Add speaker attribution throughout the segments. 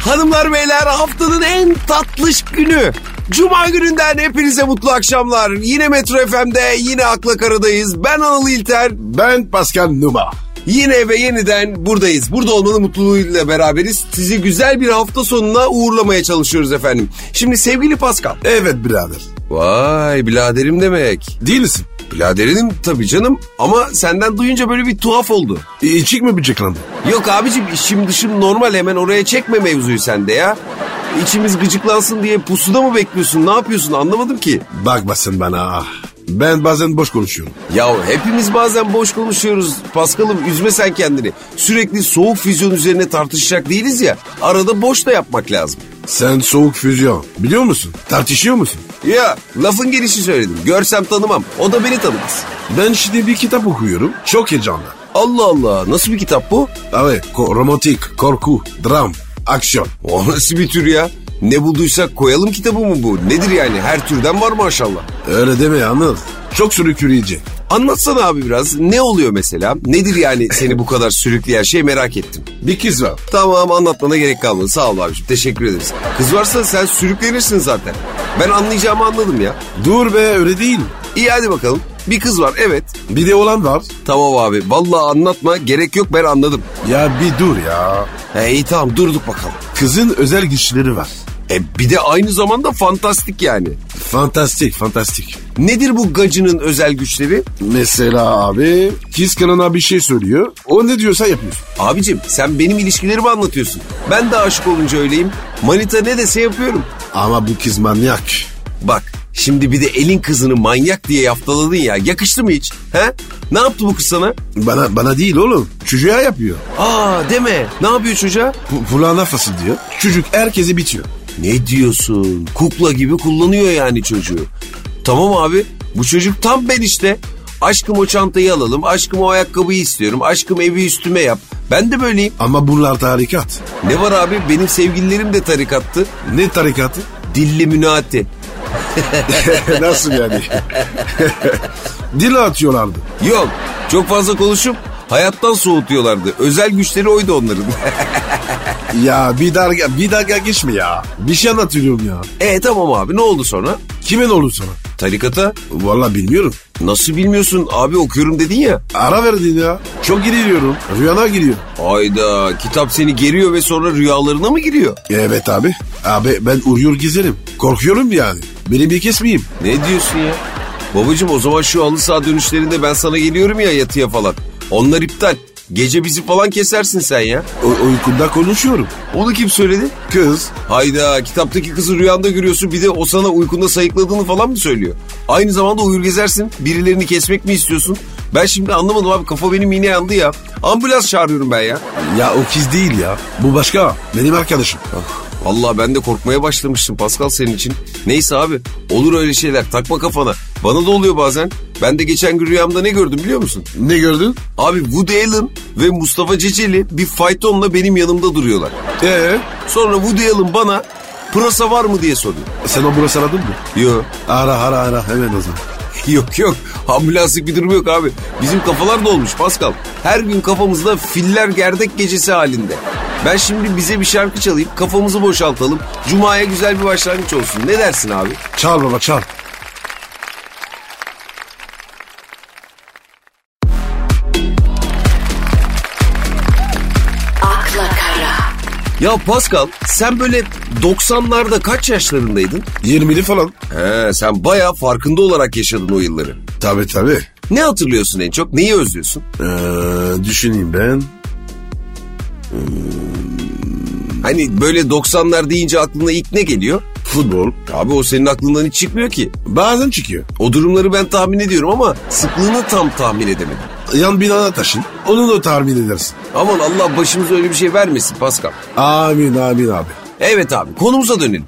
Speaker 1: Hanımlar beyler haftanın en tatlış günü. Cuma gününden hepinize mutlu akşamlar. Yine Metro FM'de yine Akla Karadayız. Ben Anıl İlter.
Speaker 2: Ben Pascal Numa.
Speaker 1: Yine ve yeniden buradayız. Burada olmanın mutluluğuyla beraberiz. Sizi güzel bir hafta sonuna uğurlamaya çalışıyoruz efendim. Şimdi sevgili Pascal.
Speaker 2: Evet birader.
Speaker 1: Vay biraderim demek.
Speaker 2: Değil misin?
Speaker 1: Biraderinim tabii canım ama senden duyunca böyle bir tuhaf oldu.
Speaker 2: E, içik mi bıçaklandı?
Speaker 1: Yok abicim işim dışım normal hemen oraya çekme mevzuyu sende ya. İçimiz gıcıklansın diye pusuda mı bekliyorsun ne yapıyorsun anlamadım ki.
Speaker 2: Bakmasın bana. Ah, Ben bazen boş konuşuyorum.
Speaker 1: Ya hepimiz bazen boş konuşuyoruz Paskal'ım üzme sen kendini. Sürekli soğuk füzyon üzerine tartışacak değiliz ya arada boş da yapmak lazım.
Speaker 2: Sen soğuk füzyon. Biliyor musun? Tartışıyor musun?
Speaker 1: Ya lafın gelişi söyledim görsem tanımam o da beni tanımaz.
Speaker 2: Ben şimdi bir kitap okuyorum. Çok heyecanlı.
Speaker 1: Allah Allah nasıl bir kitap bu?
Speaker 2: Evet. ko- romantik, korku, dram, aksiyon.
Speaker 1: O nasıl bir tür ya? Ne bulduysak koyalım kitabı mı bu? Nedir yani? Her türden var maşallah.
Speaker 2: Öyle deme yalnız. Çok sürükleyici.
Speaker 1: Anlatsana abi biraz. Ne oluyor mesela? Nedir yani seni bu kadar sürükleyen şey merak ettim.
Speaker 2: Bir kız var.
Speaker 1: Tamam anlatmana gerek kalmadı. Sağ ol abiciğim. Teşekkür ederiz. Kız varsa sen sürüklenirsin zaten. Ben anlayacağımı anladım ya.
Speaker 2: Dur be öyle değil.
Speaker 1: İyi hadi bakalım. Bir kız var evet.
Speaker 2: Bir de olan var.
Speaker 1: Tamam abi. Vallahi anlatma. Gerek yok ben anladım.
Speaker 2: Ya bir dur ya.
Speaker 1: He iyi tamam durduk bakalım.
Speaker 2: Kızın özel güçleri var.
Speaker 1: E bir de aynı zamanda fantastik yani.
Speaker 2: Fantastik, fantastik.
Speaker 1: Nedir bu gacının özel güçleri?
Speaker 2: Mesela abi kız kanına bir şey söylüyor. O ne diyorsa yapıyorsun.
Speaker 1: Abicim sen benim ilişkilerimi anlatıyorsun. Ben de aşık olunca öyleyim. Manita ne dese yapıyorum.
Speaker 2: Ama bu kız manyak.
Speaker 1: Bak şimdi bir de elin kızını manyak diye yaftaladın ya. Yakıştı mı hiç? He? Ne yaptı bu kız sana?
Speaker 2: Bana bana değil oğlum. Çocuğa yapıyor.
Speaker 1: Aa deme. Ne yapıyor çocuğa?
Speaker 2: P- Pulağına fasıl diyor. Çocuk herkesi bitiyor.
Speaker 1: Ne diyorsun? Kukla gibi kullanıyor yani çocuğu. Tamam abi bu çocuk tam ben işte. Aşkım o çantayı alalım. Aşkım o ayakkabıyı istiyorum. Aşkım evi üstüme yap. Ben de böyleyim.
Speaker 2: Ama bunlar tarikat.
Speaker 1: Ne var abi benim sevgililerim de tarikattı.
Speaker 2: Ne tarikatı?
Speaker 1: Dilli münati.
Speaker 2: Nasıl yani? Dil atıyorlardı.
Speaker 1: Yok çok fazla konuşup hayattan soğutuyorlardı. Özel güçleri oydu onların.
Speaker 2: Ya bir dalga, bir dalga geçme ya. Bir şey anlatıyorum ya.
Speaker 1: e tamam abi ne oldu sonra?
Speaker 2: Kime ne olur sana?
Speaker 1: Tarikata
Speaker 2: Valla bilmiyorum.
Speaker 1: nasıl bilmiyorsun abi okuyorum dedin ya.
Speaker 2: Ara verdin ya. Çok giriyorum. Rüyana giriyor.
Speaker 1: Hayda kitap seni geriyor ve sonra rüyalarına mı giriyor?
Speaker 2: Evet abi. Abi ben uyuyor gezerim. Korkuyorum yani. Beni bir kesmeyeyim.
Speaker 1: Ne diyorsun ya? Babacım o zaman şu halı saha dönüşlerinde ben sana geliyorum ya yatıya falan. Onlar iptal. Gece bizi falan kesersin sen ya.
Speaker 2: O- uykumda konuşuyorum.
Speaker 1: Onu kim söyledi?
Speaker 2: Kız.
Speaker 1: Hayda kitaptaki kızı rüyanda görüyorsun bir de o sana uykunda sayıkladığını falan mı söylüyor? Aynı zamanda uyur gezersin birilerini kesmek mi istiyorsun? Ben şimdi anlamadım abi kafa benim yine yandı ya. Ambulans çağırıyorum ben ya.
Speaker 2: Ya o kız değil ya. Bu başka. Benim arkadaşım.
Speaker 1: Vallahi ben de korkmaya başlamıştım Pascal senin için. Neyse abi olur öyle şeyler takma kafana. Bana da oluyor bazen. Ben de geçen gün rüyamda ne gördüm biliyor musun?
Speaker 2: Ne gördün?
Speaker 1: Abi Woody Allen ve Mustafa Ceceli bir faytonla benim yanımda duruyorlar.
Speaker 2: Ee,
Speaker 1: Sonra Woody Allen bana pırasa var mı diye soruyor.
Speaker 2: sen o burası aradın mı?
Speaker 1: Yok
Speaker 2: Ara ara ara hemen o zaman.
Speaker 1: Yok yok ambulanslık bir durum yok abi. Bizim kafalar da olmuş Pascal. Her gün kafamızda filler gerdek gecesi halinde. Ben şimdi bize bir şarkı çalayım kafamızı boşaltalım. Cuma'ya güzel bir başlangıç olsun. Ne dersin abi?
Speaker 2: Çal baba çal.
Speaker 3: akla kara,
Speaker 1: Ya Pascal sen böyle 90'larda kaç yaşlarındaydın?
Speaker 2: 20'li falan.
Speaker 1: He sen bayağı farkında olarak yaşadın o yılları.
Speaker 2: Tabi tabi.
Speaker 1: Ne hatırlıyorsun en çok? Neyi özlüyorsun?
Speaker 2: Ee, düşüneyim ben.
Speaker 1: Hani böyle 90'lar deyince aklına ilk ne geliyor?
Speaker 2: Futbol.
Speaker 1: Abi o senin aklından hiç çıkmıyor ki.
Speaker 2: Bazen çıkıyor.
Speaker 1: O durumları ben tahmin ediyorum ama sıklığını tam tahmin edemedim.
Speaker 2: Yan binana taşın. Onu da tahmin edersin.
Speaker 1: Aman Allah başımıza öyle bir şey vermesin Pascal.
Speaker 2: Amin amin abi.
Speaker 1: Evet abi konumuza dönelim.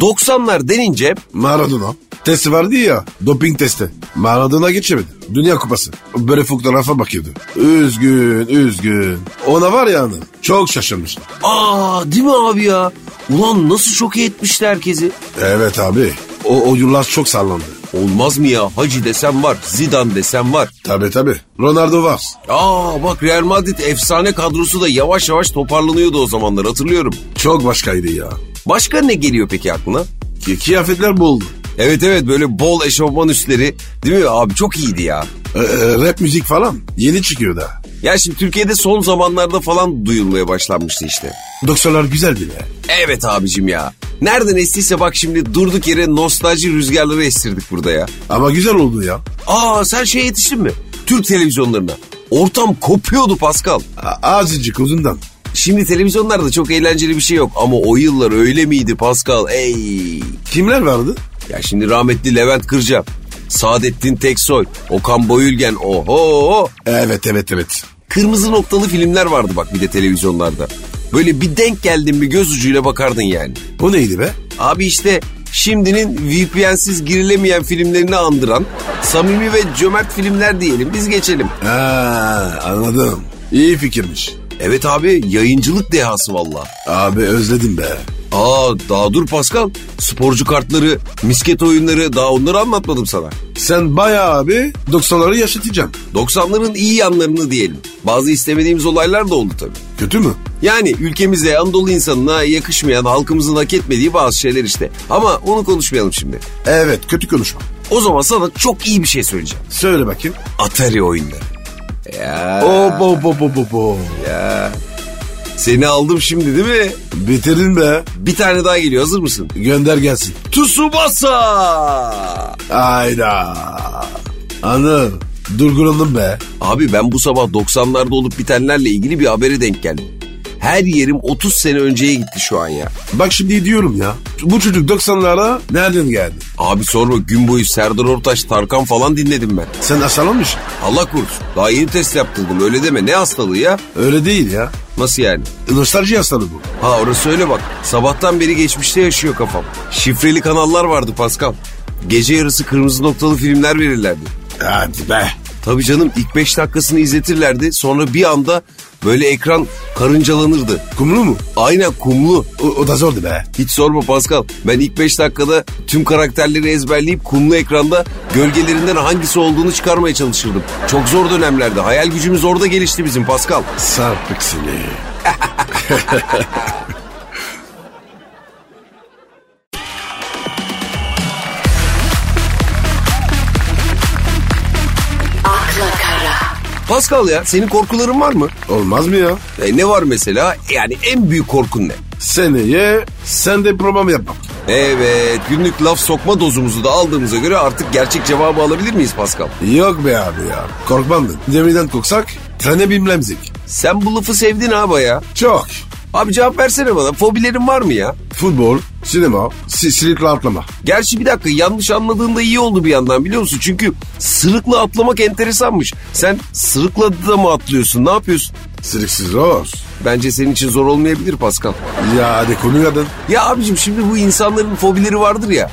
Speaker 1: 90'lar denince
Speaker 2: Maradona. Testi vardı ya. Doping testi. Maradona geçemedi. Dünya kupası. Böyle fotoğrafa bakıyordu. Üzgün üzgün. Ona var ya hanım. Çok şaşırmış.
Speaker 1: aa değil mi abi ya? Ulan nasıl şoke etmişti herkesi.
Speaker 2: Evet abi. O, o yıllar çok sallandı.
Speaker 1: Olmaz mı ya? Hacı desem var, Zidane desem var.
Speaker 2: Tabi tabi. Ronaldo var.
Speaker 1: Aa bak Real Madrid efsane kadrosu da yavaş yavaş toparlanıyordu o zamanlar hatırlıyorum.
Speaker 2: Çok başkaydı ya.
Speaker 1: Başka ne geliyor peki aklına?
Speaker 2: Ki kıyafetler boldu.
Speaker 1: Evet evet böyle bol eşofman üstleri değil mi abi çok iyiydi ya.
Speaker 2: Ee, e, rap müzik falan yeni çıkıyor da.
Speaker 1: Ya şimdi Türkiye'de son zamanlarda falan duyulmaya başlanmıştı işte.
Speaker 2: 90'lar güzeldi ya.
Speaker 1: Evet abicim ya. Nereden estiyse bak şimdi durduk yere nostalji rüzgarları estirdik burada ya.
Speaker 2: Ama güzel oldu ya.
Speaker 1: Aa sen şey yetiştin mi? Türk televizyonlarına. Ortam kopuyordu Pascal.
Speaker 2: A- azıcık uzundan.
Speaker 1: Şimdi televizyonlarda çok eğlenceli bir şey yok ama o yıllar öyle miydi Pascal? Ey!
Speaker 2: Kimler vardı?
Speaker 1: Ya şimdi rahmetli Levent Kırca, Saadettin Teksoy, Okan Boyülgen oho!
Speaker 2: Evet evet evet.
Speaker 1: Kırmızı noktalı filmler vardı bak bir de televizyonlarda. Böyle bir denk geldin mi göz ucuyla bakardın yani.
Speaker 2: O neydi be?
Speaker 1: Abi işte şimdinin VPN'siz girilemeyen filmlerini andıran samimi ve cömert filmler diyelim biz geçelim.
Speaker 2: Ha, anladım. İyi fikirmiş.
Speaker 1: Evet abi yayıncılık dehası valla.
Speaker 2: Abi özledim be.
Speaker 1: Aa daha dur Pascal. Sporcu kartları, misket oyunları daha onları anlatmadım sana.
Speaker 2: Sen bayağı abi 90'ları yaşatacaksın.
Speaker 1: 90'ların iyi yanlarını diyelim. Bazı istemediğimiz olaylar da oldu tabii.
Speaker 2: Kötü mü?
Speaker 1: Yani ülkemize, Anadolu insanına yakışmayan, halkımızın hak etmediği bazı şeyler işte. Ama onu konuşmayalım şimdi.
Speaker 2: Evet kötü konuşma.
Speaker 1: O zaman sana çok iyi bir şey söyleyeceğim.
Speaker 2: Söyle bakayım.
Speaker 1: Atari oyunları. Ya
Speaker 2: O bo bo bo bo bo.
Speaker 1: seni aldım şimdi değil mi?
Speaker 2: Bitirdin be.
Speaker 1: Bir tane daha geliyor hazır mısın?
Speaker 2: Gönder gelsin.
Speaker 1: Tsubasa!
Speaker 2: Ayda. Anıl. Durgulandım be.
Speaker 1: Abi ben bu sabah 90'larda olup bitenlerle ilgili bir habere denk geldim. Her yerim 30 sene önceye gitti şu an ya.
Speaker 2: Bak şimdi diyorum ya. Bu çocuk 90'lara nereden geldi?
Speaker 1: Abi sorma gün boyu Serdar Ortaç, Tarkan falan dinledim ben.
Speaker 2: Sen hastalanmışsın.
Speaker 1: Allah korusun. Daha yeni test yaptırdım öyle deme. Ne hastalığı ya?
Speaker 2: Öyle değil ya.
Speaker 1: Nasıl yani?
Speaker 2: Nostalji hastalığı bu.
Speaker 1: Ha orası öyle bak. Sabahtan beri geçmişte yaşıyor kafam. Şifreli kanallar vardı Pascal. Gece yarısı kırmızı noktalı filmler verirlerdi.
Speaker 2: Hadi be.
Speaker 1: Tabii canım ilk 5 dakikasını izletirlerdi. Sonra bir anda böyle ekran karıncalanırdı.
Speaker 2: Kumlu mu?
Speaker 1: Aynen kumlu.
Speaker 2: O, o da zordu be.
Speaker 1: Hiç sorma Pascal. Ben ilk 5 dakikada tüm karakterleri ezberleyip kumlu ekranda gölgelerinden hangisi olduğunu çıkarmaya çalışırdım. Çok zor dönemlerde. Hayal gücümüz orada gelişti bizim Pascal.
Speaker 2: Sarpık seni.
Speaker 3: akla kara,
Speaker 1: Pascal ya senin korkuların var mı?
Speaker 2: Olmaz mı ya?
Speaker 1: E, ne var mesela? Yani en büyük korkun ne?
Speaker 2: Seneye sen de program yapmak.
Speaker 1: Evet günlük laf sokma dozumuzu da aldığımıza göre artık gerçek cevabı alabilir miyiz Pascal?
Speaker 2: Yok be abi ya. Korkmam ben. Demirden koksak trene binmemzik.
Speaker 1: Sen bu lafı sevdin ha baya.
Speaker 2: Çok.
Speaker 1: Abi cevap versene bana fobilerin var mı ya?
Speaker 2: Futbol, sinema, si silikle atlama.
Speaker 1: Gerçi bir dakika yanlış anladığında iyi oldu bir yandan biliyor musun? Çünkü sırıkla atlamak enteresanmış. Sen sırıkla da mı atlıyorsun ne yapıyorsun?
Speaker 2: Siliksiz zor.
Speaker 1: Bence senin için zor olmayabilir Pascal.
Speaker 2: Ya hadi konuyu adın.
Speaker 1: Ya abicim şimdi bu insanların fobileri vardır ya.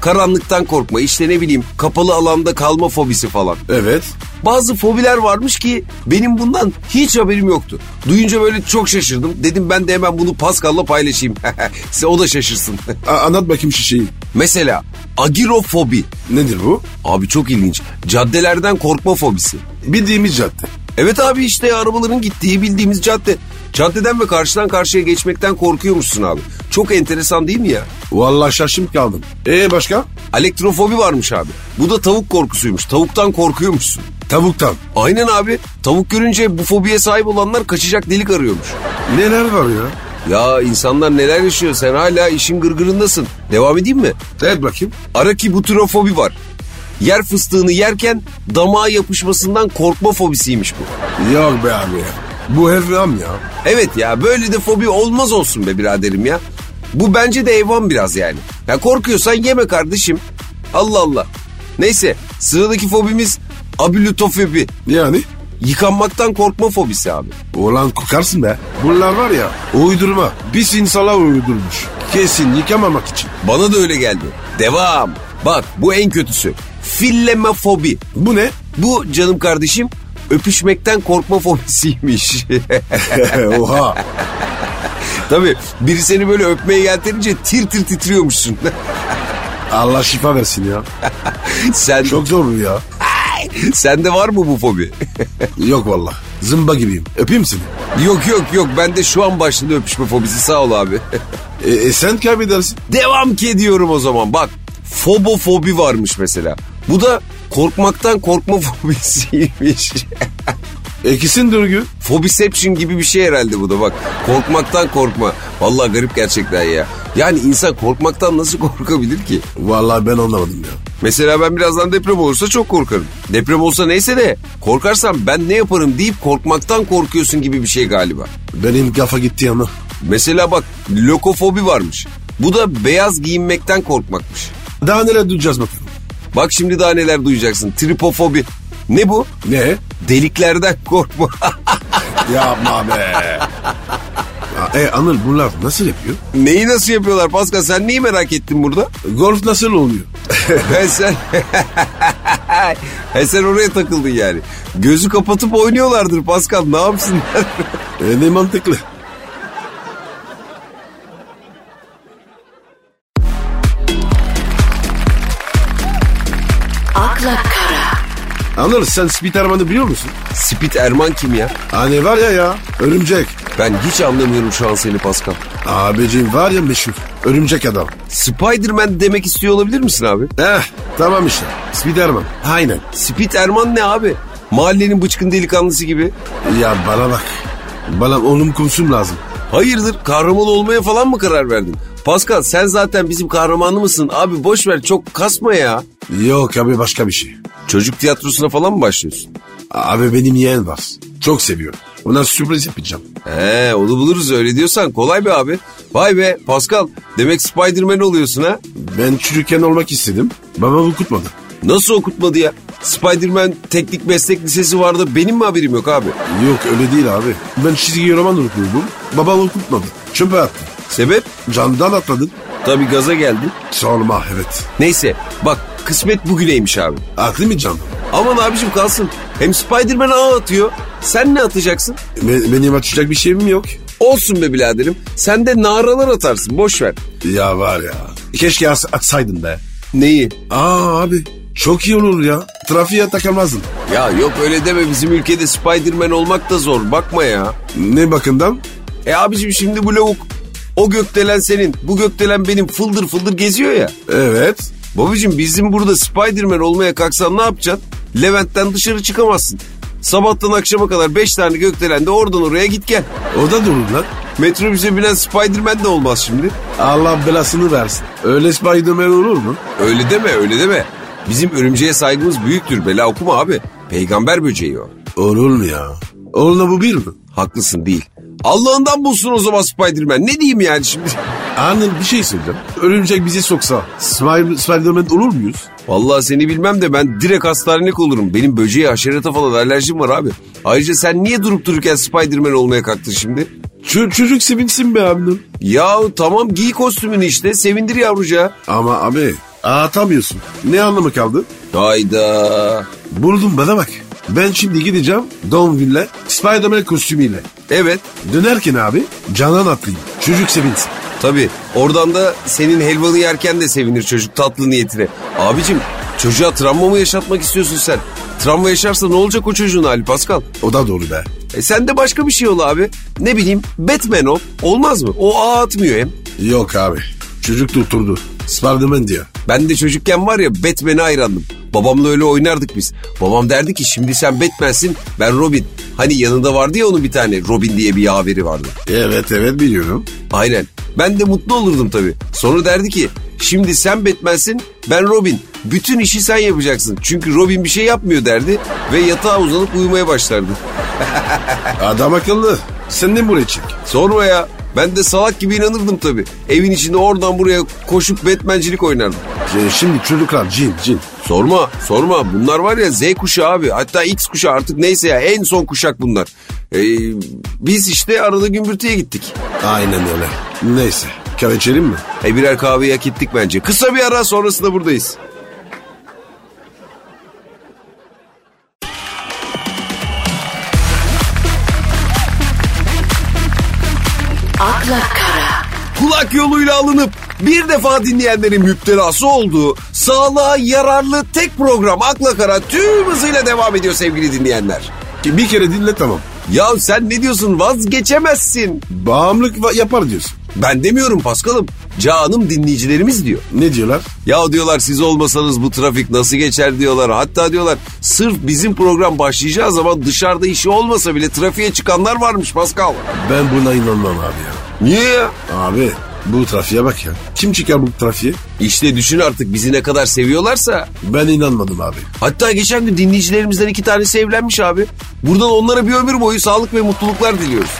Speaker 1: Karanlıktan korkma işte ne bileyim kapalı alanda kalma fobisi falan.
Speaker 2: Evet.
Speaker 1: Bazı fobiler varmış ki benim bundan hiç haberim yoktu. Duyunca böyle çok şaşırdım. Dedim ben de hemen bunu Pascal'la paylaşayım. Size o da şaşırsın.
Speaker 2: A- anlat bakayım şu şeyi.
Speaker 1: Mesela agirofobi.
Speaker 2: Nedir bu?
Speaker 1: Abi çok ilginç. Caddelerden korkma fobisi.
Speaker 2: Bildiğimiz cadde.
Speaker 1: Evet abi işte arabaların gittiği bildiğimiz cadde. Caddeden ve karşıdan karşıya geçmekten korkuyormuşsun abi. Çok enteresan değil mi ya?
Speaker 2: Vallahi şaşım kaldım. E başka?
Speaker 1: Alektrofobi varmış abi. Bu da tavuk korkusuymuş. Tavuktan korkuyormuşsun.
Speaker 2: Tavuktan.
Speaker 1: Aynen abi. Tavuk görünce bu fobiye sahip olanlar kaçacak delik arıyormuş.
Speaker 2: Neler var ya?
Speaker 1: Ya insanlar neler yaşıyor sen hala işin gırgırındasın. Devam edeyim mi?
Speaker 2: Evet bakayım.
Speaker 1: Arakibutrofobi var. Yer fıstığını yerken damağa yapışmasından korkma fobisiymiş bu.
Speaker 2: Yok be abi ya. Bu evlam ya.
Speaker 1: Evet ya böyle de fobi olmaz olsun be biraderim ya. Bu bence de eyvan biraz yani. Ya korkuyorsan yeme kardeşim. Allah Allah. Neyse sıradaki fobimiz ablutofobi.
Speaker 2: Yani?
Speaker 1: Yıkanmaktan korkma fobisi abi.
Speaker 2: Ulan kokarsın be. Bunlar var ya uydurma. Biz insana uydurmuş. Kesin yıkamamak için.
Speaker 1: Bana da öyle geldi. Devam. Bak bu en kötüsü. Fillemefobi.
Speaker 2: Bu ne?
Speaker 1: Bu canım kardeşim öpüşmekten korkma fobisiymiş.
Speaker 2: Oha.
Speaker 1: Tabii biri seni böyle öpmeye yeltenince tir tir titriyormuşsun.
Speaker 2: Allah şifa versin ya.
Speaker 1: Sen,
Speaker 2: Çok zor bu ya.
Speaker 1: sende var mı bu fobi?
Speaker 2: Yok valla. Zımba gibiyim. Öpeyim seni.
Speaker 1: yok yok yok bende şu an başladı öpüşme fobisi sağ ol abi.
Speaker 2: E, e, sen kaybedersin.
Speaker 1: Devam ki diyorum o zaman bak fobofobi varmış mesela. Bu da korkmaktan korkma fobisiymiş.
Speaker 2: Ekisin dürgü.
Speaker 1: Fobiception gibi bir şey herhalde bu da bak. Korkmaktan korkma. Vallahi garip gerçekten ya. Yani insan korkmaktan nasıl korkabilir ki?
Speaker 2: Valla ben anlamadım ya.
Speaker 1: Mesela ben birazdan deprem olursa çok korkarım. Deprem olsa neyse de korkarsam ben ne yaparım deyip korkmaktan korkuyorsun gibi bir şey galiba.
Speaker 2: Benim kafa gitti yana.
Speaker 1: Mesela bak lokofobi varmış. Bu da beyaz giyinmekten korkmakmış.
Speaker 2: Daha neler duyacağız bakalım.
Speaker 1: Bak şimdi daha neler duyacaksın. Tripofobi. Ne bu?
Speaker 2: Ne?
Speaker 1: Deliklerden korkma.
Speaker 2: Yapma be. Ya, e Anıl bunlar nasıl yapıyor?
Speaker 1: Neyi nasıl yapıyorlar Pascal? Sen neyi merak ettin burada?
Speaker 2: Golf nasıl oluyor?
Speaker 1: He sen... He sen oraya takıldın yani. Gözü kapatıp oynuyorlardır Pascal. Ne yapsınlar?
Speaker 2: E, ne mantıklı.
Speaker 3: akla kara,
Speaker 2: Anıl sen Spit Arman'ı biliyor musun?
Speaker 1: Spit Erman kim ya?
Speaker 2: Hani var ya ya örümcek.
Speaker 1: Ben hiç anlamıyorum şu an seni Pascal.
Speaker 2: Abicim var ya meşhur. Örümcek adam.
Speaker 1: Spiderman demek istiyor olabilir misin abi?
Speaker 2: Eh tamam işte. Spit Arman. Aynen.
Speaker 1: Spit Erman ne abi? Mahallenin bıçkın delikanlısı gibi.
Speaker 2: Ya bana bak. Bana onun kumsum lazım.
Speaker 1: Hayırdır kahraman olmaya falan mı karar verdin? Pascal sen zaten bizim kahramanı mısın? Abi boş ver çok kasma ya.
Speaker 2: Yok abi başka bir şey.
Speaker 1: Çocuk tiyatrosuna falan mı başlıyorsun?
Speaker 2: Abi benim yeğen var. Çok seviyor. Ona sürpriz yapacağım.
Speaker 1: He onu buluruz öyle diyorsan kolay be abi. Vay be Pascal demek Spiderman oluyorsun ha?
Speaker 2: Ben çocukken olmak istedim. Babam okutmadı.
Speaker 1: Nasıl okutmadı ya? Spiderman Teknik Meslek Lisesi vardı benim mi haberim yok abi?
Speaker 2: Yok öyle değil abi. Ben çizgi roman okuyordum. Babam okutmadı. Çöpe attı.
Speaker 1: Sebep?
Speaker 2: Camdan atladın.
Speaker 1: Tabii gaza geldi.
Speaker 2: Sorma evet.
Speaker 1: Neyse bak kısmet bugüneymiş abi.
Speaker 2: Aklı mı cam?
Speaker 1: Aman abicim kalsın. Hem Spiderman ağ atıyor. Sen ne atacaksın?
Speaker 2: Be- benim açacak bir şeyim yok.
Speaker 1: Olsun be biraderim. Sen de naralar atarsın boş ver.
Speaker 2: Ya var ya. Keşke as- atsaydın be.
Speaker 1: Neyi?
Speaker 2: Aa abi çok iyi olur ya. Trafiğe takılmazdın.
Speaker 1: Ya yok öyle deme bizim ülkede Spiderman olmak da zor bakma ya.
Speaker 2: Ne bakımdan?
Speaker 1: E abicim şimdi bu lavuk o gökdelen senin bu gökdelen benim fıldır fıldır geziyor ya.
Speaker 2: Evet.
Speaker 1: Babacım bizim burada Spiderman olmaya kalksan ne yapacaksın? Levent'ten dışarı çıkamazsın. Sabahtan akşama kadar 5 tane gökdelen de oradan oraya git gel.
Speaker 2: O da durur lan.
Speaker 1: Metrobüse binen Spiderman de olmaz şimdi.
Speaker 2: Allah belasını versin. Öyle Spiderman olur mu?
Speaker 1: Öyle deme öyle deme. Bizim örümceğe saygımız büyüktür bela okuma abi. Peygamber böceği o.
Speaker 2: Olur mu ya? Oğluna bu bir mi?
Speaker 1: Haklısın değil. Allah'ından bulsun o zaman Spiderman. Ne diyeyim yani şimdi?
Speaker 2: Anıl bir şey söyleyeceğim. Örümcek bizi soksa Spider- Spiderman olur muyuz?
Speaker 1: Vallahi seni bilmem de ben direkt hastanelik olurum. Benim böceğe haşerata falan alerjim var abi. Ayrıca sen niye durup dururken Spiderman olmaya kalktın şimdi?
Speaker 2: Ç- çocuk sevinsin be Anıl.
Speaker 1: Yahu tamam giy kostümünü işte sevindir yavruca.
Speaker 2: Ama abi atamıyorsun. Ne anlamı kaldı?
Speaker 1: Hayda.
Speaker 2: Buldum bana bak. Ben şimdi gideceğim doğum günle Spiderman kostümüyle.
Speaker 1: Evet
Speaker 2: Dönerken abi canan atlayayım. Çocuk sevinsin.
Speaker 1: tabii oradan da senin helvanı yerken de sevinir çocuk tatlı niyetine. Abicim çocuğa travma mı yaşatmak istiyorsun sen? Travma yaşarsa ne olacak o çocuğun hali Pascal?
Speaker 2: O da doğru be.
Speaker 1: E sen de başka bir şey ol abi. Ne bileyim Batman ol. Olmaz mı? O ağ atmıyor hem.
Speaker 2: Yok abi. Çocuk tutturdu. Spiderman diyor.
Speaker 1: Ben de çocukken var ya Batman'e hayrandım. Babamla öyle oynardık biz. Babam derdi ki şimdi sen Batman'sin ben Robin. Hani yanında vardı ya onun bir tane Robin diye bir yaveri vardı.
Speaker 2: Evet evet biliyorum.
Speaker 1: Aynen. Ben de mutlu olurdum tabii. Sonra derdi ki şimdi sen Batman'sin ben Robin. Bütün işi sen yapacaksın. Çünkü Robin bir şey yapmıyor derdi ve yatağa uzanıp uyumaya başlardı.
Speaker 2: Adam akıllı. Sen ne buraya çık?
Speaker 1: Sonra ya ben de salak gibi inanırdım tabii. Evin içinde oradan buraya koşup Batman'cilik oynardım.
Speaker 2: Ee, Şimdi çocuklar cin cin.
Speaker 1: Sorma sorma bunlar var ya Z kuşağı abi hatta X kuşağı artık neyse ya en son kuşak bunlar. Ee, biz işte arada gümbürtüye gittik.
Speaker 2: Aynen öyle. Neyse. Kahve içelim mi?
Speaker 1: E birer kahveyi hak ettik bence. Kısa bir ara sonrasında buradayız.
Speaker 3: akla kara,
Speaker 1: Kulak yoluyla alınıp Bir defa dinleyenlerin müptelası olduğu sağlığa yararlı tek program Akla Kara tüm hızıyla devam ediyor sevgili dinleyenler.
Speaker 2: Ki Bir kere dinle tamam.
Speaker 1: Ya sen ne diyorsun vazgeçemezsin.
Speaker 2: Bağımlılık va- yapar diyorsun.
Speaker 1: Ben demiyorum Paskal'ım. Canım dinleyicilerimiz diyor.
Speaker 2: Ne diyorlar?
Speaker 1: Ya diyorlar siz olmasanız bu trafik nasıl geçer diyorlar. Hatta diyorlar sırf bizim program başlayacağı zaman dışarıda işi olmasa bile trafiğe çıkanlar varmış Pascal.
Speaker 2: Ben buna inanmam abi ya.
Speaker 1: Niye ya?
Speaker 2: Abi bu trafiğe bak ya. Kim çıkar bu trafiğe?
Speaker 1: İşte düşün artık bizi ne kadar seviyorlarsa.
Speaker 2: Ben inanmadım abi.
Speaker 1: Hatta geçen gün dinleyicilerimizden iki tanesi evlenmiş abi. Buradan onlara bir ömür boyu sağlık ve mutluluklar diliyoruz.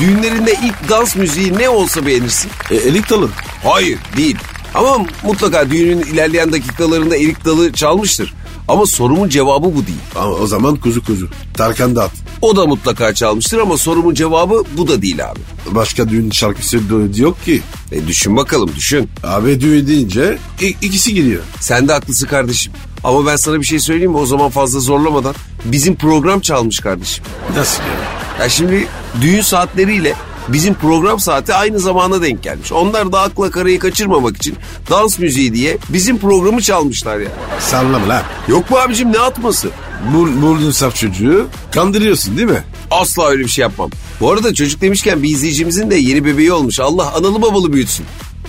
Speaker 1: Düğünlerinde ilk dans müziği ne olsa beğenirsin.
Speaker 2: E, elik dalın.
Speaker 1: Hayır değil. Ama mutlaka düğünün ilerleyen dakikalarında erik dalı çalmıştır. Ama sorumun cevabı bu değil.
Speaker 2: Ama o zaman kuzu kuzu. Tarkan da at.
Speaker 1: O da mutlaka çalmıştır ama sorumun cevabı bu da değil abi.
Speaker 2: Başka düğün şarkısı dö- yok ki.
Speaker 1: E düşün bakalım düşün.
Speaker 2: Abi düğün deyince i- ikisi giriyor.
Speaker 1: Sen de haklısın kardeşim. Ama ben sana bir şey söyleyeyim mi o zaman fazla zorlamadan. Bizim program çalmış kardeşim.
Speaker 2: Nasıl yani?
Speaker 1: Ya şimdi düğün saatleriyle bizim program saati aynı zamana denk gelmiş. Onlar da akla karayı kaçırmamak için dans müziği diye bizim programı çalmışlar ya.
Speaker 2: Sallama lan.
Speaker 1: Yok mu abicim ne atması?
Speaker 2: Bur burnun saf çocuğu kandırıyorsun değil mi?
Speaker 1: Asla öyle bir şey yapmam. Bu arada çocuk demişken bir izleyicimizin de yeni bebeği olmuş. Allah analı babalı büyütsün.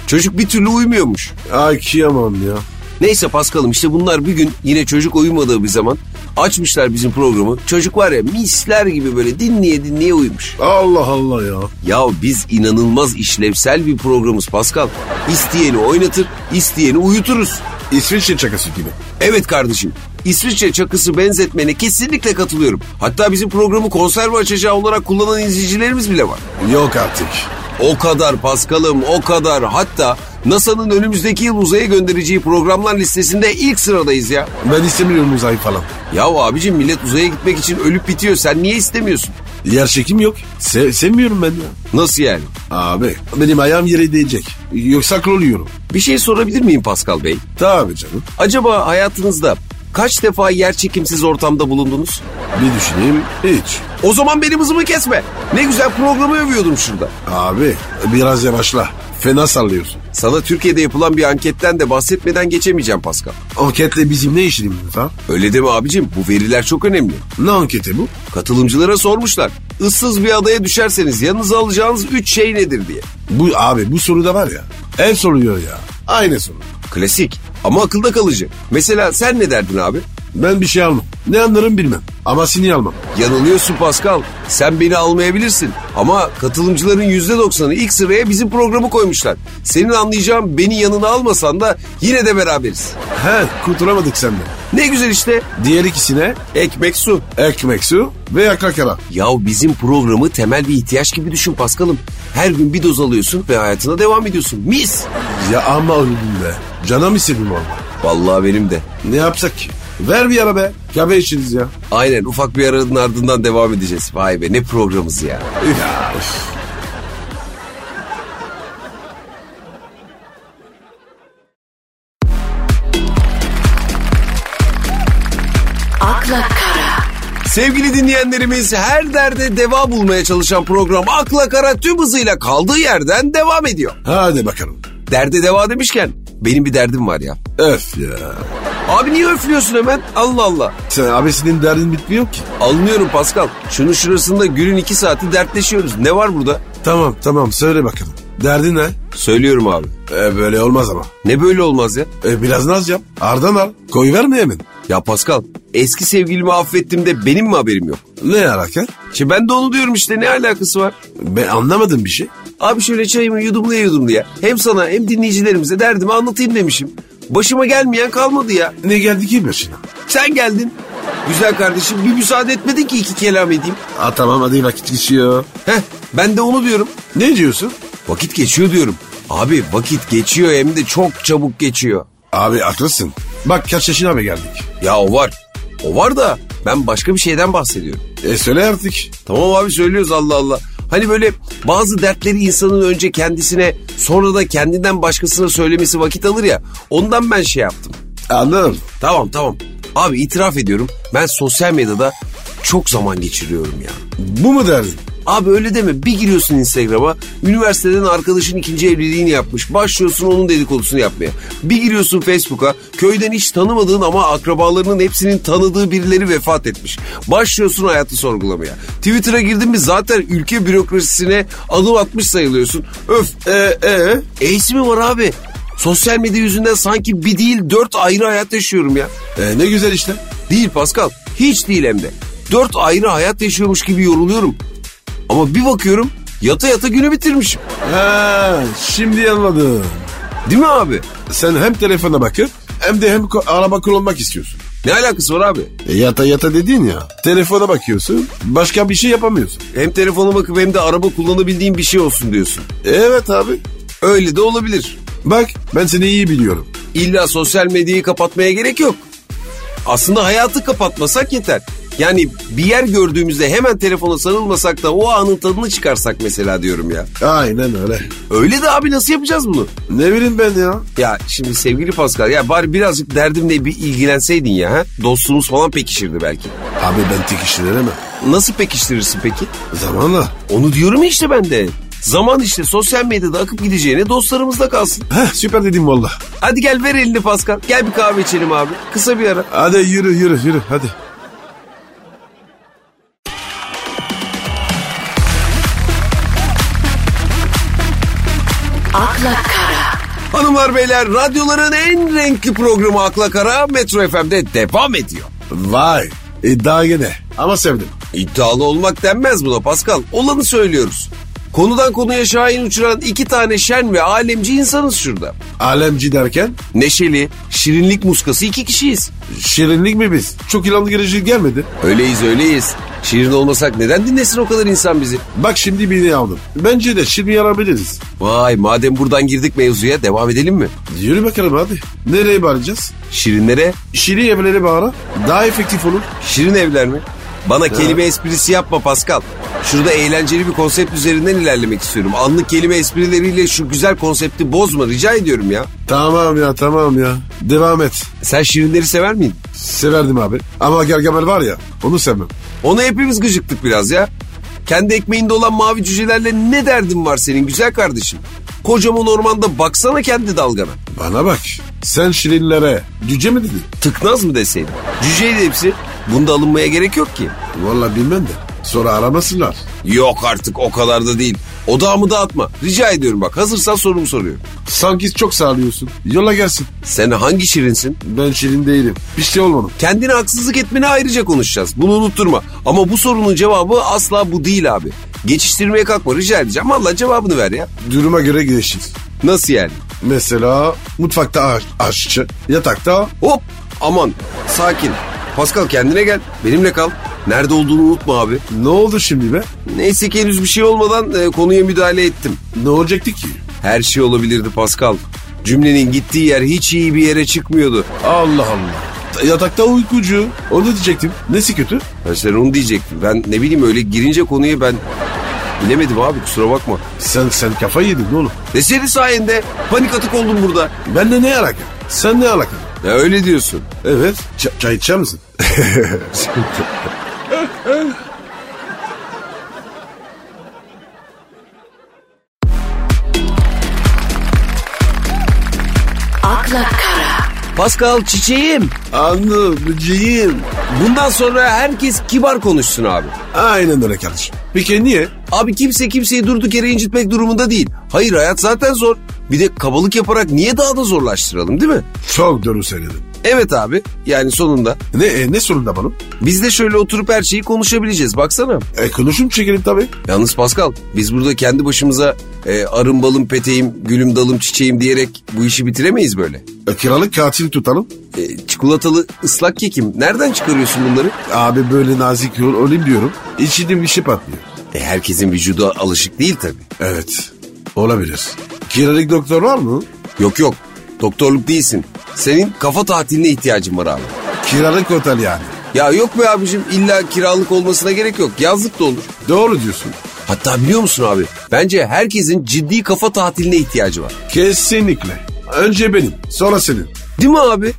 Speaker 1: Çocuk bir türlü uyumuyormuş.
Speaker 2: Ay kıyamam ya.
Speaker 1: Neyse Paskal'ım işte bunlar bir gün yine çocuk uyumadığı bir zaman açmışlar bizim programı. Çocuk var ya misler gibi böyle dinleye dinleye uyumuş.
Speaker 2: Allah Allah ya.
Speaker 1: Ya biz inanılmaz işlevsel bir programız Paskal. İsteyeni oynatır, isteyeni uyuturuz.
Speaker 2: İsviçre çakası gibi.
Speaker 1: Evet kardeşim. İsviçre çakısı benzetmene kesinlikle katılıyorum. Hatta bizim programı konserve açacağı olarak kullanan izleyicilerimiz bile var.
Speaker 2: Yok artık.
Speaker 1: O kadar Paskal'ım o kadar hatta NASA'nın önümüzdeki yıl uzaya göndereceği programlar listesinde ilk sıradayız ya.
Speaker 2: Ben istemiyorum uzay falan.
Speaker 1: Ya abicim millet uzaya gitmek için ölüp bitiyor sen niye istemiyorsun?
Speaker 2: Yer çekim yok. Se- sevmiyorum ben ya.
Speaker 1: Nasıl yani?
Speaker 2: Abi benim ayağım yere değecek. Yoksa oluyorum.
Speaker 1: Bir şey sorabilir miyim Paskal Bey?
Speaker 2: Tabii canım.
Speaker 1: Acaba hayatınızda kaç defa yer çekimsiz ortamda bulundunuz?
Speaker 2: Bir düşüneyim. Hiç.
Speaker 1: O zaman benim hızımı kesme. Ne güzel programı övüyordum şurada.
Speaker 2: Abi biraz yavaşla. Fena sallıyorsun.
Speaker 1: Sana Türkiye'de yapılan bir anketten de bahsetmeden geçemeyeceğim Paskal.
Speaker 2: Anketle bizim ne işimiz var?
Speaker 1: Öyle deme abicim bu veriler çok önemli.
Speaker 2: Ne anketi bu?
Speaker 1: Katılımcılara sormuşlar. Issız bir adaya düşerseniz yanınıza alacağınız 3 şey nedir diye.
Speaker 2: Bu abi bu soruda var ya. Ev soruyor ya. Aynı soru.
Speaker 1: Klasik ama akılda kalıcı. Mesela sen ne derdin abi?
Speaker 2: Ben bir şey almam. Ne anlarım bilmem. Ama seni almam.
Speaker 1: Yanılıyorsun Pascal. Sen beni almayabilirsin. Ama katılımcıların %90'ı ilk sıraya bizim programı koymuşlar. Senin anlayacağın beni yanına almasan da yine de beraberiz.
Speaker 2: He kurtulamadık senden.
Speaker 1: Ne güzel işte.
Speaker 2: Diğer ikisine
Speaker 1: Ekmek su.
Speaker 2: ekmek su ve kakara.
Speaker 1: Ya bizim programı temel bir ihtiyaç gibi düşün Paskal'ım. Her gün bir doz alıyorsun ve hayatına devam ediyorsun. Mis.
Speaker 2: Ya ama oğlum be. Canım istedim valla.
Speaker 1: Vallahi benim de.
Speaker 2: Ne yapsak ki? Ver bir ara be. Kahve içeriz ya.
Speaker 1: Aynen ufak bir aranın ardından devam edeceğiz. Vay be ne programımız ya.
Speaker 2: Ya üf.
Speaker 3: Akla Kara.
Speaker 1: Sevgili dinleyenlerimiz her derde deva bulmaya çalışan program Akla Kara tüm hızıyla kaldığı yerden devam ediyor.
Speaker 2: Hadi bakalım.
Speaker 1: Derde deva demişken benim bir derdim var ya.
Speaker 2: Öf ya.
Speaker 1: Abi niye öflüyorsun hemen? Allah Allah.
Speaker 2: Sen abisinin derdin bitmiyor ki.
Speaker 1: Anlıyorum Pascal. Şunun şurasında günün iki saati dertleşiyoruz. Ne var burada?
Speaker 2: Tamam tamam söyle bakalım. Derdin ne?
Speaker 1: Söylüyorum abi.
Speaker 2: E, böyle olmaz ama.
Speaker 1: Ne böyle olmaz ya?
Speaker 2: E, biraz naz yap. Ardan al. Koy verme hemen.
Speaker 1: Ya Pascal eski sevgilimi affettim de benim mi haberim yok?
Speaker 2: Ne alaka?
Speaker 1: Şimdi ben de onu diyorum işte ne alakası var?
Speaker 2: Ben anlamadım bir şey.
Speaker 1: Abi şöyle çayımı yudumlaya yudumlaya hem sana hem dinleyicilerimize derdimi anlatayım demişim. Başıma gelmeyen kalmadı ya.
Speaker 2: Ne geldi ki başına?
Speaker 1: Sen geldin. Güzel kardeşim bir müsaade etmedin ki iki kelam edeyim.
Speaker 2: Ha tamam hadi vakit geçiyor.
Speaker 1: Heh ben de onu diyorum.
Speaker 2: Ne diyorsun?
Speaker 1: Vakit geçiyor diyorum. Abi vakit geçiyor hem de çok çabuk geçiyor.
Speaker 2: Abi haklısın. Bak kaç yaşına mı geldik?
Speaker 1: Ya o var. O var da ben başka bir şeyden bahsediyorum.
Speaker 2: E söyle artık.
Speaker 1: Tamam abi söylüyoruz Allah Allah. Hani böyle bazı dertleri insanın önce kendisine sonra da kendinden başkasına söylemesi vakit alır ya. Ondan ben şey yaptım.
Speaker 2: Anladım.
Speaker 1: Tamam tamam. Abi itiraf ediyorum ben sosyal medyada çok zaman geçiriyorum ya.
Speaker 2: Bu mu derdin?
Speaker 1: Abi öyle deme bir giriyorsun Instagram'a üniversiteden arkadaşın ikinci evliliğini yapmış başlıyorsun onun dedikodusunu yapmaya. Bir giriyorsun Facebook'a köyden hiç tanımadığın ama akrabalarının hepsinin tanıdığı birileri vefat etmiş. Başlıyorsun hayatı sorgulamaya. Twitter'a girdin mi zaten ülke bürokrasisine adım atmış sayılıyorsun. Öf e e E'si mi var abi? Sosyal medya yüzünden sanki bir değil dört ayrı hayat yaşıyorum ya.
Speaker 2: E, ne güzel işte.
Speaker 1: Değil Pascal. Hiç değil hem de. Dört ayrı hayat yaşıyormuş gibi yoruluyorum. Ama bir bakıyorum yata yata günü bitirmişim.
Speaker 2: Ha, şimdi anladım.
Speaker 1: Değil mi abi?
Speaker 2: Sen hem telefona bakıp hem de hem ko- araba kullanmak istiyorsun.
Speaker 1: Ne alakası var abi?
Speaker 2: E, yata yata dedin ya. Telefona bakıyorsun. Başka bir şey yapamıyorsun.
Speaker 1: Hem telefona bakıp hem de araba kullanabildiğin bir şey olsun diyorsun.
Speaker 2: Evet abi.
Speaker 1: Öyle de olabilir.
Speaker 2: Bak ben seni iyi biliyorum.
Speaker 1: İlla sosyal medyayı kapatmaya gerek yok. Aslında hayatı kapatmasak yeter. Yani bir yer gördüğümüzde hemen telefona sarılmasak da o anın tadını çıkarsak mesela diyorum ya.
Speaker 2: Aynen öyle.
Speaker 1: Öyle de abi nasıl yapacağız bunu?
Speaker 2: Ne bileyim ben ya.
Speaker 1: Ya şimdi sevgili Pascal ya bari birazcık derdimle bir ilgilenseydin ya. Ha? Dostluğumuz falan pekişirdi belki.
Speaker 2: Abi ben tek işlere mi?
Speaker 1: Nasıl pekiştirirsin peki?
Speaker 2: Zamanla.
Speaker 1: Onu diyorum ya işte ben de. Zaman işte sosyal medyada akıp gideceğine dostlarımızda kalsın.
Speaker 2: Heh, süper dedim valla.
Speaker 1: Hadi gel ver elini Pascal. Gel bir kahve içelim abi. Kısa bir ara.
Speaker 2: Hadi yürü yürü yürü hadi.
Speaker 3: akla kara,
Speaker 1: Hanımlar beyler radyoların en renkli programı Akla Kara Metro FM'de devam ediyor.
Speaker 2: Vay iddia gene ama sevdim.
Speaker 1: İddialı olmak denmez buna Pascal. Olanı söylüyoruz. Konudan konuya şahin uçuran iki tane şen ve alemci insanız şurada.
Speaker 2: Alemci derken
Speaker 1: Neşeli, şirinlik muskası iki kişiyiz.
Speaker 2: şirinlik mi biz? Çok inandırıcı gelmedi.
Speaker 1: Öyleyiz öyleyiz. Şirin olmasak neden dinlesin o kadar insan bizi?
Speaker 2: Bak şimdi birini aldım. Bence de şimdi yarabiliriz.
Speaker 1: Vay madem buradan girdik mevzuya devam edelim mi?
Speaker 2: Yürü bakalım hadi. Nereye bağıracağız?
Speaker 1: Şirinlere
Speaker 2: Şirin evlere bağıra. Daha efektif olur.
Speaker 1: Şirin evler mi? Bana kelime esprisi yapma Pascal. Şurada eğlenceli bir konsept üzerinden ilerlemek istiyorum. Anlık kelime esprileriyle şu güzel konsepti bozma rica ediyorum ya.
Speaker 2: Tamam ya tamam ya. Devam et.
Speaker 1: Sen şirinleri sever miydin?
Speaker 2: Severdim abi. Ama Gargamel var ya onu sevmem.
Speaker 1: Ona hepimiz gıcıktık biraz ya. Kendi ekmeğinde olan mavi cücelerle ne derdin var senin güzel kardeşim? Kocaman ormanda baksana kendi dalgana.
Speaker 2: Bana bak. Sen şirinlere cüce mi dedin?
Speaker 1: Tıknaz mı deseydin? Cüceydi hepsi. Bunda alınmaya gerek yok ki.
Speaker 2: Vallahi bilmem de. Sonra aramasınlar.
Speaker 1: Yok artık o kadar da değil. Odağımı dağıtma. Rica ediyorum bak hazırsan sorumu soruyorum.
Speaker 2: Sanki çok sağlıyorsun. Yola gelsin.
Speaker 1: Sen hangi şirinsin?
Speaker 2: Ben şirin değilim. Bir şey olmadım.
Speaker 1: Kendine haksızlık etmeni ayrıca konuşacağız. Bunu unutturma. Ama bu sorunun cevabı asla bu değil abi. Geçiştirmeye kalkma rica edeceğim. Valla cevabını ver ya.
Speaker 2: Duruma göre gelişiriz.
Speaker 1: Nasıl yani?
Speaker 2: Mesela mutfakta aş- aşçı, yatakta
Speaker 1: Hop aman sakin. Pascal kendine gel. Benimle kal. Nerede olduğunu unutma abi.
Speaker 2: ne oldu şimdi be?
Speaker 1: Neyse ki henüz bir şey olmadan e, konuya müdahale ettim.
Speaker 2: Ne olacaktı ki?
Speaker 1: Her şey olabilirdi Pascal. Cümlenin gittiği yer hiç iyi bir yere çıkmıyordu.
Speaker 2: Allah Allah. Ta- Yatakta uykucu. Onu diyecektim. Nesi kötü?
Speaker 1: Ben sen onu diyecektim. Ben ne bileyim öyle girince konuya ben bilemedim abi kusura bakma.
Speaker 2: Sen sen kafayı yedin oğlum.
Speaker 1: E senin sayende panik atık oldum burada.
Speaker 2: Benle ne alaka? Sen ne alaka?
Speaker 1: Ya öyle diyorsun.
Speaker 2: Evet. Ç- çay içer misin?
Speaker 3: akla kara,
Speaker 1: Pascal çiçeğim.
Speaker 2: Anlı bıcıyım.
Speaker 1: Bundan sonra herkes kibar konuşsun abi.
Speaker 2: Aynen öyle kardeşim. Peki niye?
Speaker 1: Abi kimse kimseyi durduk yere incitmek durumunda değil. Hayır hayat zaten zor. Bir de kabalık yaparak niye daha da zorlaştıralım değil mi?
Speaker 2: Çok doğru söyledin.
Speaker 1: Evet abi yani sonunda.
Speaker 2: Ne e, ne sorun da bunun?
Speaker 1: Biz de şöyle oturup her şeyi konuşabileceğiz baksana.
Speaker 2: E, konuşum çekelim tabii.
Speaker 1: Yalnız Pascal biz burada kendi başımıza e, arım balım peteğim gülüm dalım çiçeğim diyerek bu işi bitiremeyiz böyle.
Speaker 2: E, kiralık katil tutalım.
Speaker 1: E, çikolatalı ıslak kekim nereden çıkarıyorsun bunları?
Speaker 2: Abi böyle nazik yol olayım diyorum. İçinde bir şey patlıyor.
Speaker 1: E, herkesin vücudu alışık değil tabii.
Speaker 2: Evet. Olabilir. Kiralık doktor var mı?
Speaker 1: Yok yok. Doktorluk değilsin. Senin kafa tatiline ihtiyacın var abi.
Speaker 2: Kiralık otel yani.
Speaker 1: Ya yok be abicim illa kiralık olmasına gerek yok. Yazlık da olur.
Speaker 2: Doğru diyorsun.
Speaker 1: Hatta biliyor musun abi? Bence herkesin ciddi kafa tatiline ihtiyacı var.
Speaker 2: Kesinlikle. Önce benim, sonra senin.
Speaker 1: Değil mi abi?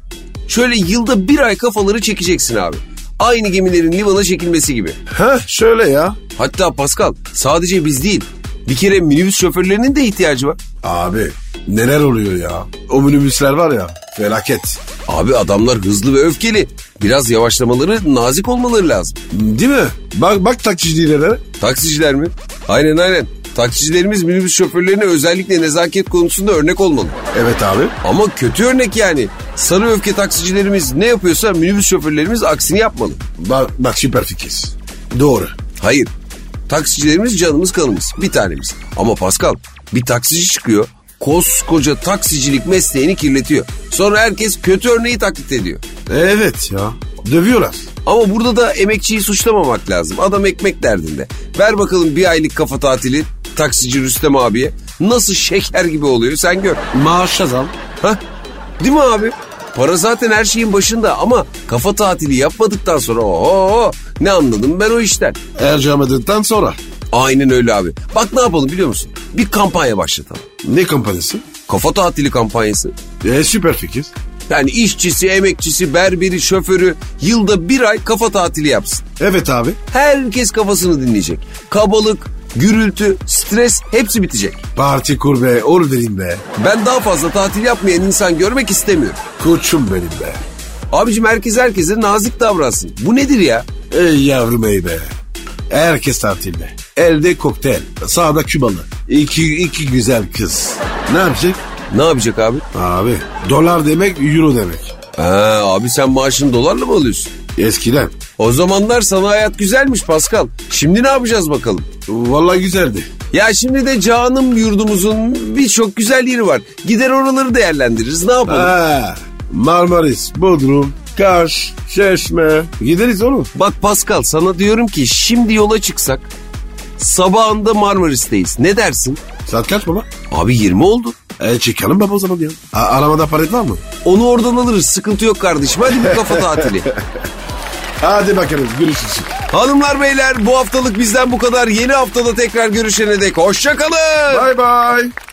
Speaker 1: Şöyle yılda bir ay kafaları çekeceksin abi. Aynı gemilerin limana çekilmesi gibi.
Speaker 2: Ha şöyle ya.
Speaker 1: Hatta Pascal sadece biz değil bir kere minibüs şoförlerinin de ihtiyacı var.
Speaker 2: Abi neler oluyor ya? O minibüsler var ya felaket.
Speaker 1: Abi adamlar hızlı ve öfkeli. Biraz yavaşlamaları nazik olmaları lazım.
Speaker 2: Değil mi? Bak bak taksicilere.
Speaker 1: Taksiciler mi? Aynen aynen. Taksicilerimiz minibüs şoförlerine özellikle nezaket konusunda örnek olmalı.
Speaker 2: Evet abi.
Speaker 1: Ama kötü örnek yani. Sarı öfke taksicilerimiz ne yapıyorsa minibüs şoförlerimiz aksini yapmalı.
Speaker 2: Bak, bak süper fikir. Doğru.
Speaker 1: Hayır. Taksicilerimiz canımız kanımız. Bir tanemiz. Ama Pascal bir taksici çıkıyor. Koskoca taksicilik mesleğini kirletiyor. Sonra herkes kötü örneği taklit ediyor.
Speaker 2: Evet ya. Dövüyorlar.
Speaker 1: Ama burada da emekçiyi suçlamamak lazım. Adam ekmek derdinde. Ver bakalım bir aylık kafa tatili taksici Rüstem abiye. Nasıl şeker gibi oluyor sen gör.
Speaker 2: Maaş zam.
Speaker 1: Hah? Değil mi abi? Para zaten her şeyin başında ama kafa tatili yapmadıktan sonra oho ne anladım ben o işten.
Speaker 2: Ercam edildikten sonra.
Speaker 1: Aynen öyle abi. Bak ne yapalım biliyor musun? Bir kampanya başlatalım.
Speaker 2: Ne kampanyası?
Speaker 1: Kafa tatili kampanyası.
Speaker 2: E, süper fikir.
Speaker 1: Yani işçisi, emekçisi, berberi, şoförü yılda bir ay kafa tatili yapsın.
Speaker 2: Evet abi.
Speaker 1: Herkes kafasını dinleyecek. Kabalık, gürültü, stres hepsi bitecek.
Speaker 2: Parti kur be. Ol vereyim be.
Speaker 1: Ben daha fazla tatil yapmayan insan görmek istemiyorum.
Speaker 2: Koçum benim be.
Speaker 1: Abicim herkes herkese nazik davransın. Bu nedir ya?
Speaker 2: Ey yavrum ey be. Herkes tatilde. Elde kokteyl. Sağda Kübalı. İki, iki güzel kız. Ne yapacak?
Speaker 1: Ne yapacak abi?
Speaker 2: Abi dolar demek euro demek.
Speaker 1: Ha, abi sen maaşını dolarla mı alıyorsun?
Speaker 2: Eskiden.
Speaker 1: O zamanlar sana hayat güzelmiş Pascal. Şimdi ne yapacağız bakalım?
Speaker 2: Vallahi güzeldi.
Speaker 1: Ya şimdi de canım yurdumuzun birçok güzel yeri var. Gider oraları değerlendiririz ne yapalım?
Speaker 2: Ha, Marmaris, Bodrum, Kaş, Çeşme. Gideriz oğlum.
Speaker 1: Bak Pascal sana diyorum ki şimdi yola çıksak sabahında Marmaris'teyiz. Ne dersin?
Speaker 2: Saat kaç baba?
Speaker 1: Abi 20 oldu.
Speaker 2: E çıkalım baba o zaman ya. A- arabada palet var mı?
Speaker 1: Onu oradan alırız. Sıkıntı yok kardeşim. Hadi bir kafa tatili.
Speaker 2: Hadi bakalım görüşürüz.
Speaker 1: Hanımlar beyler bu haftalık bizden bu kadar. Yeni haftada tekrar görüşene dek hoşçakalın.
Speaker 2: Bay bay.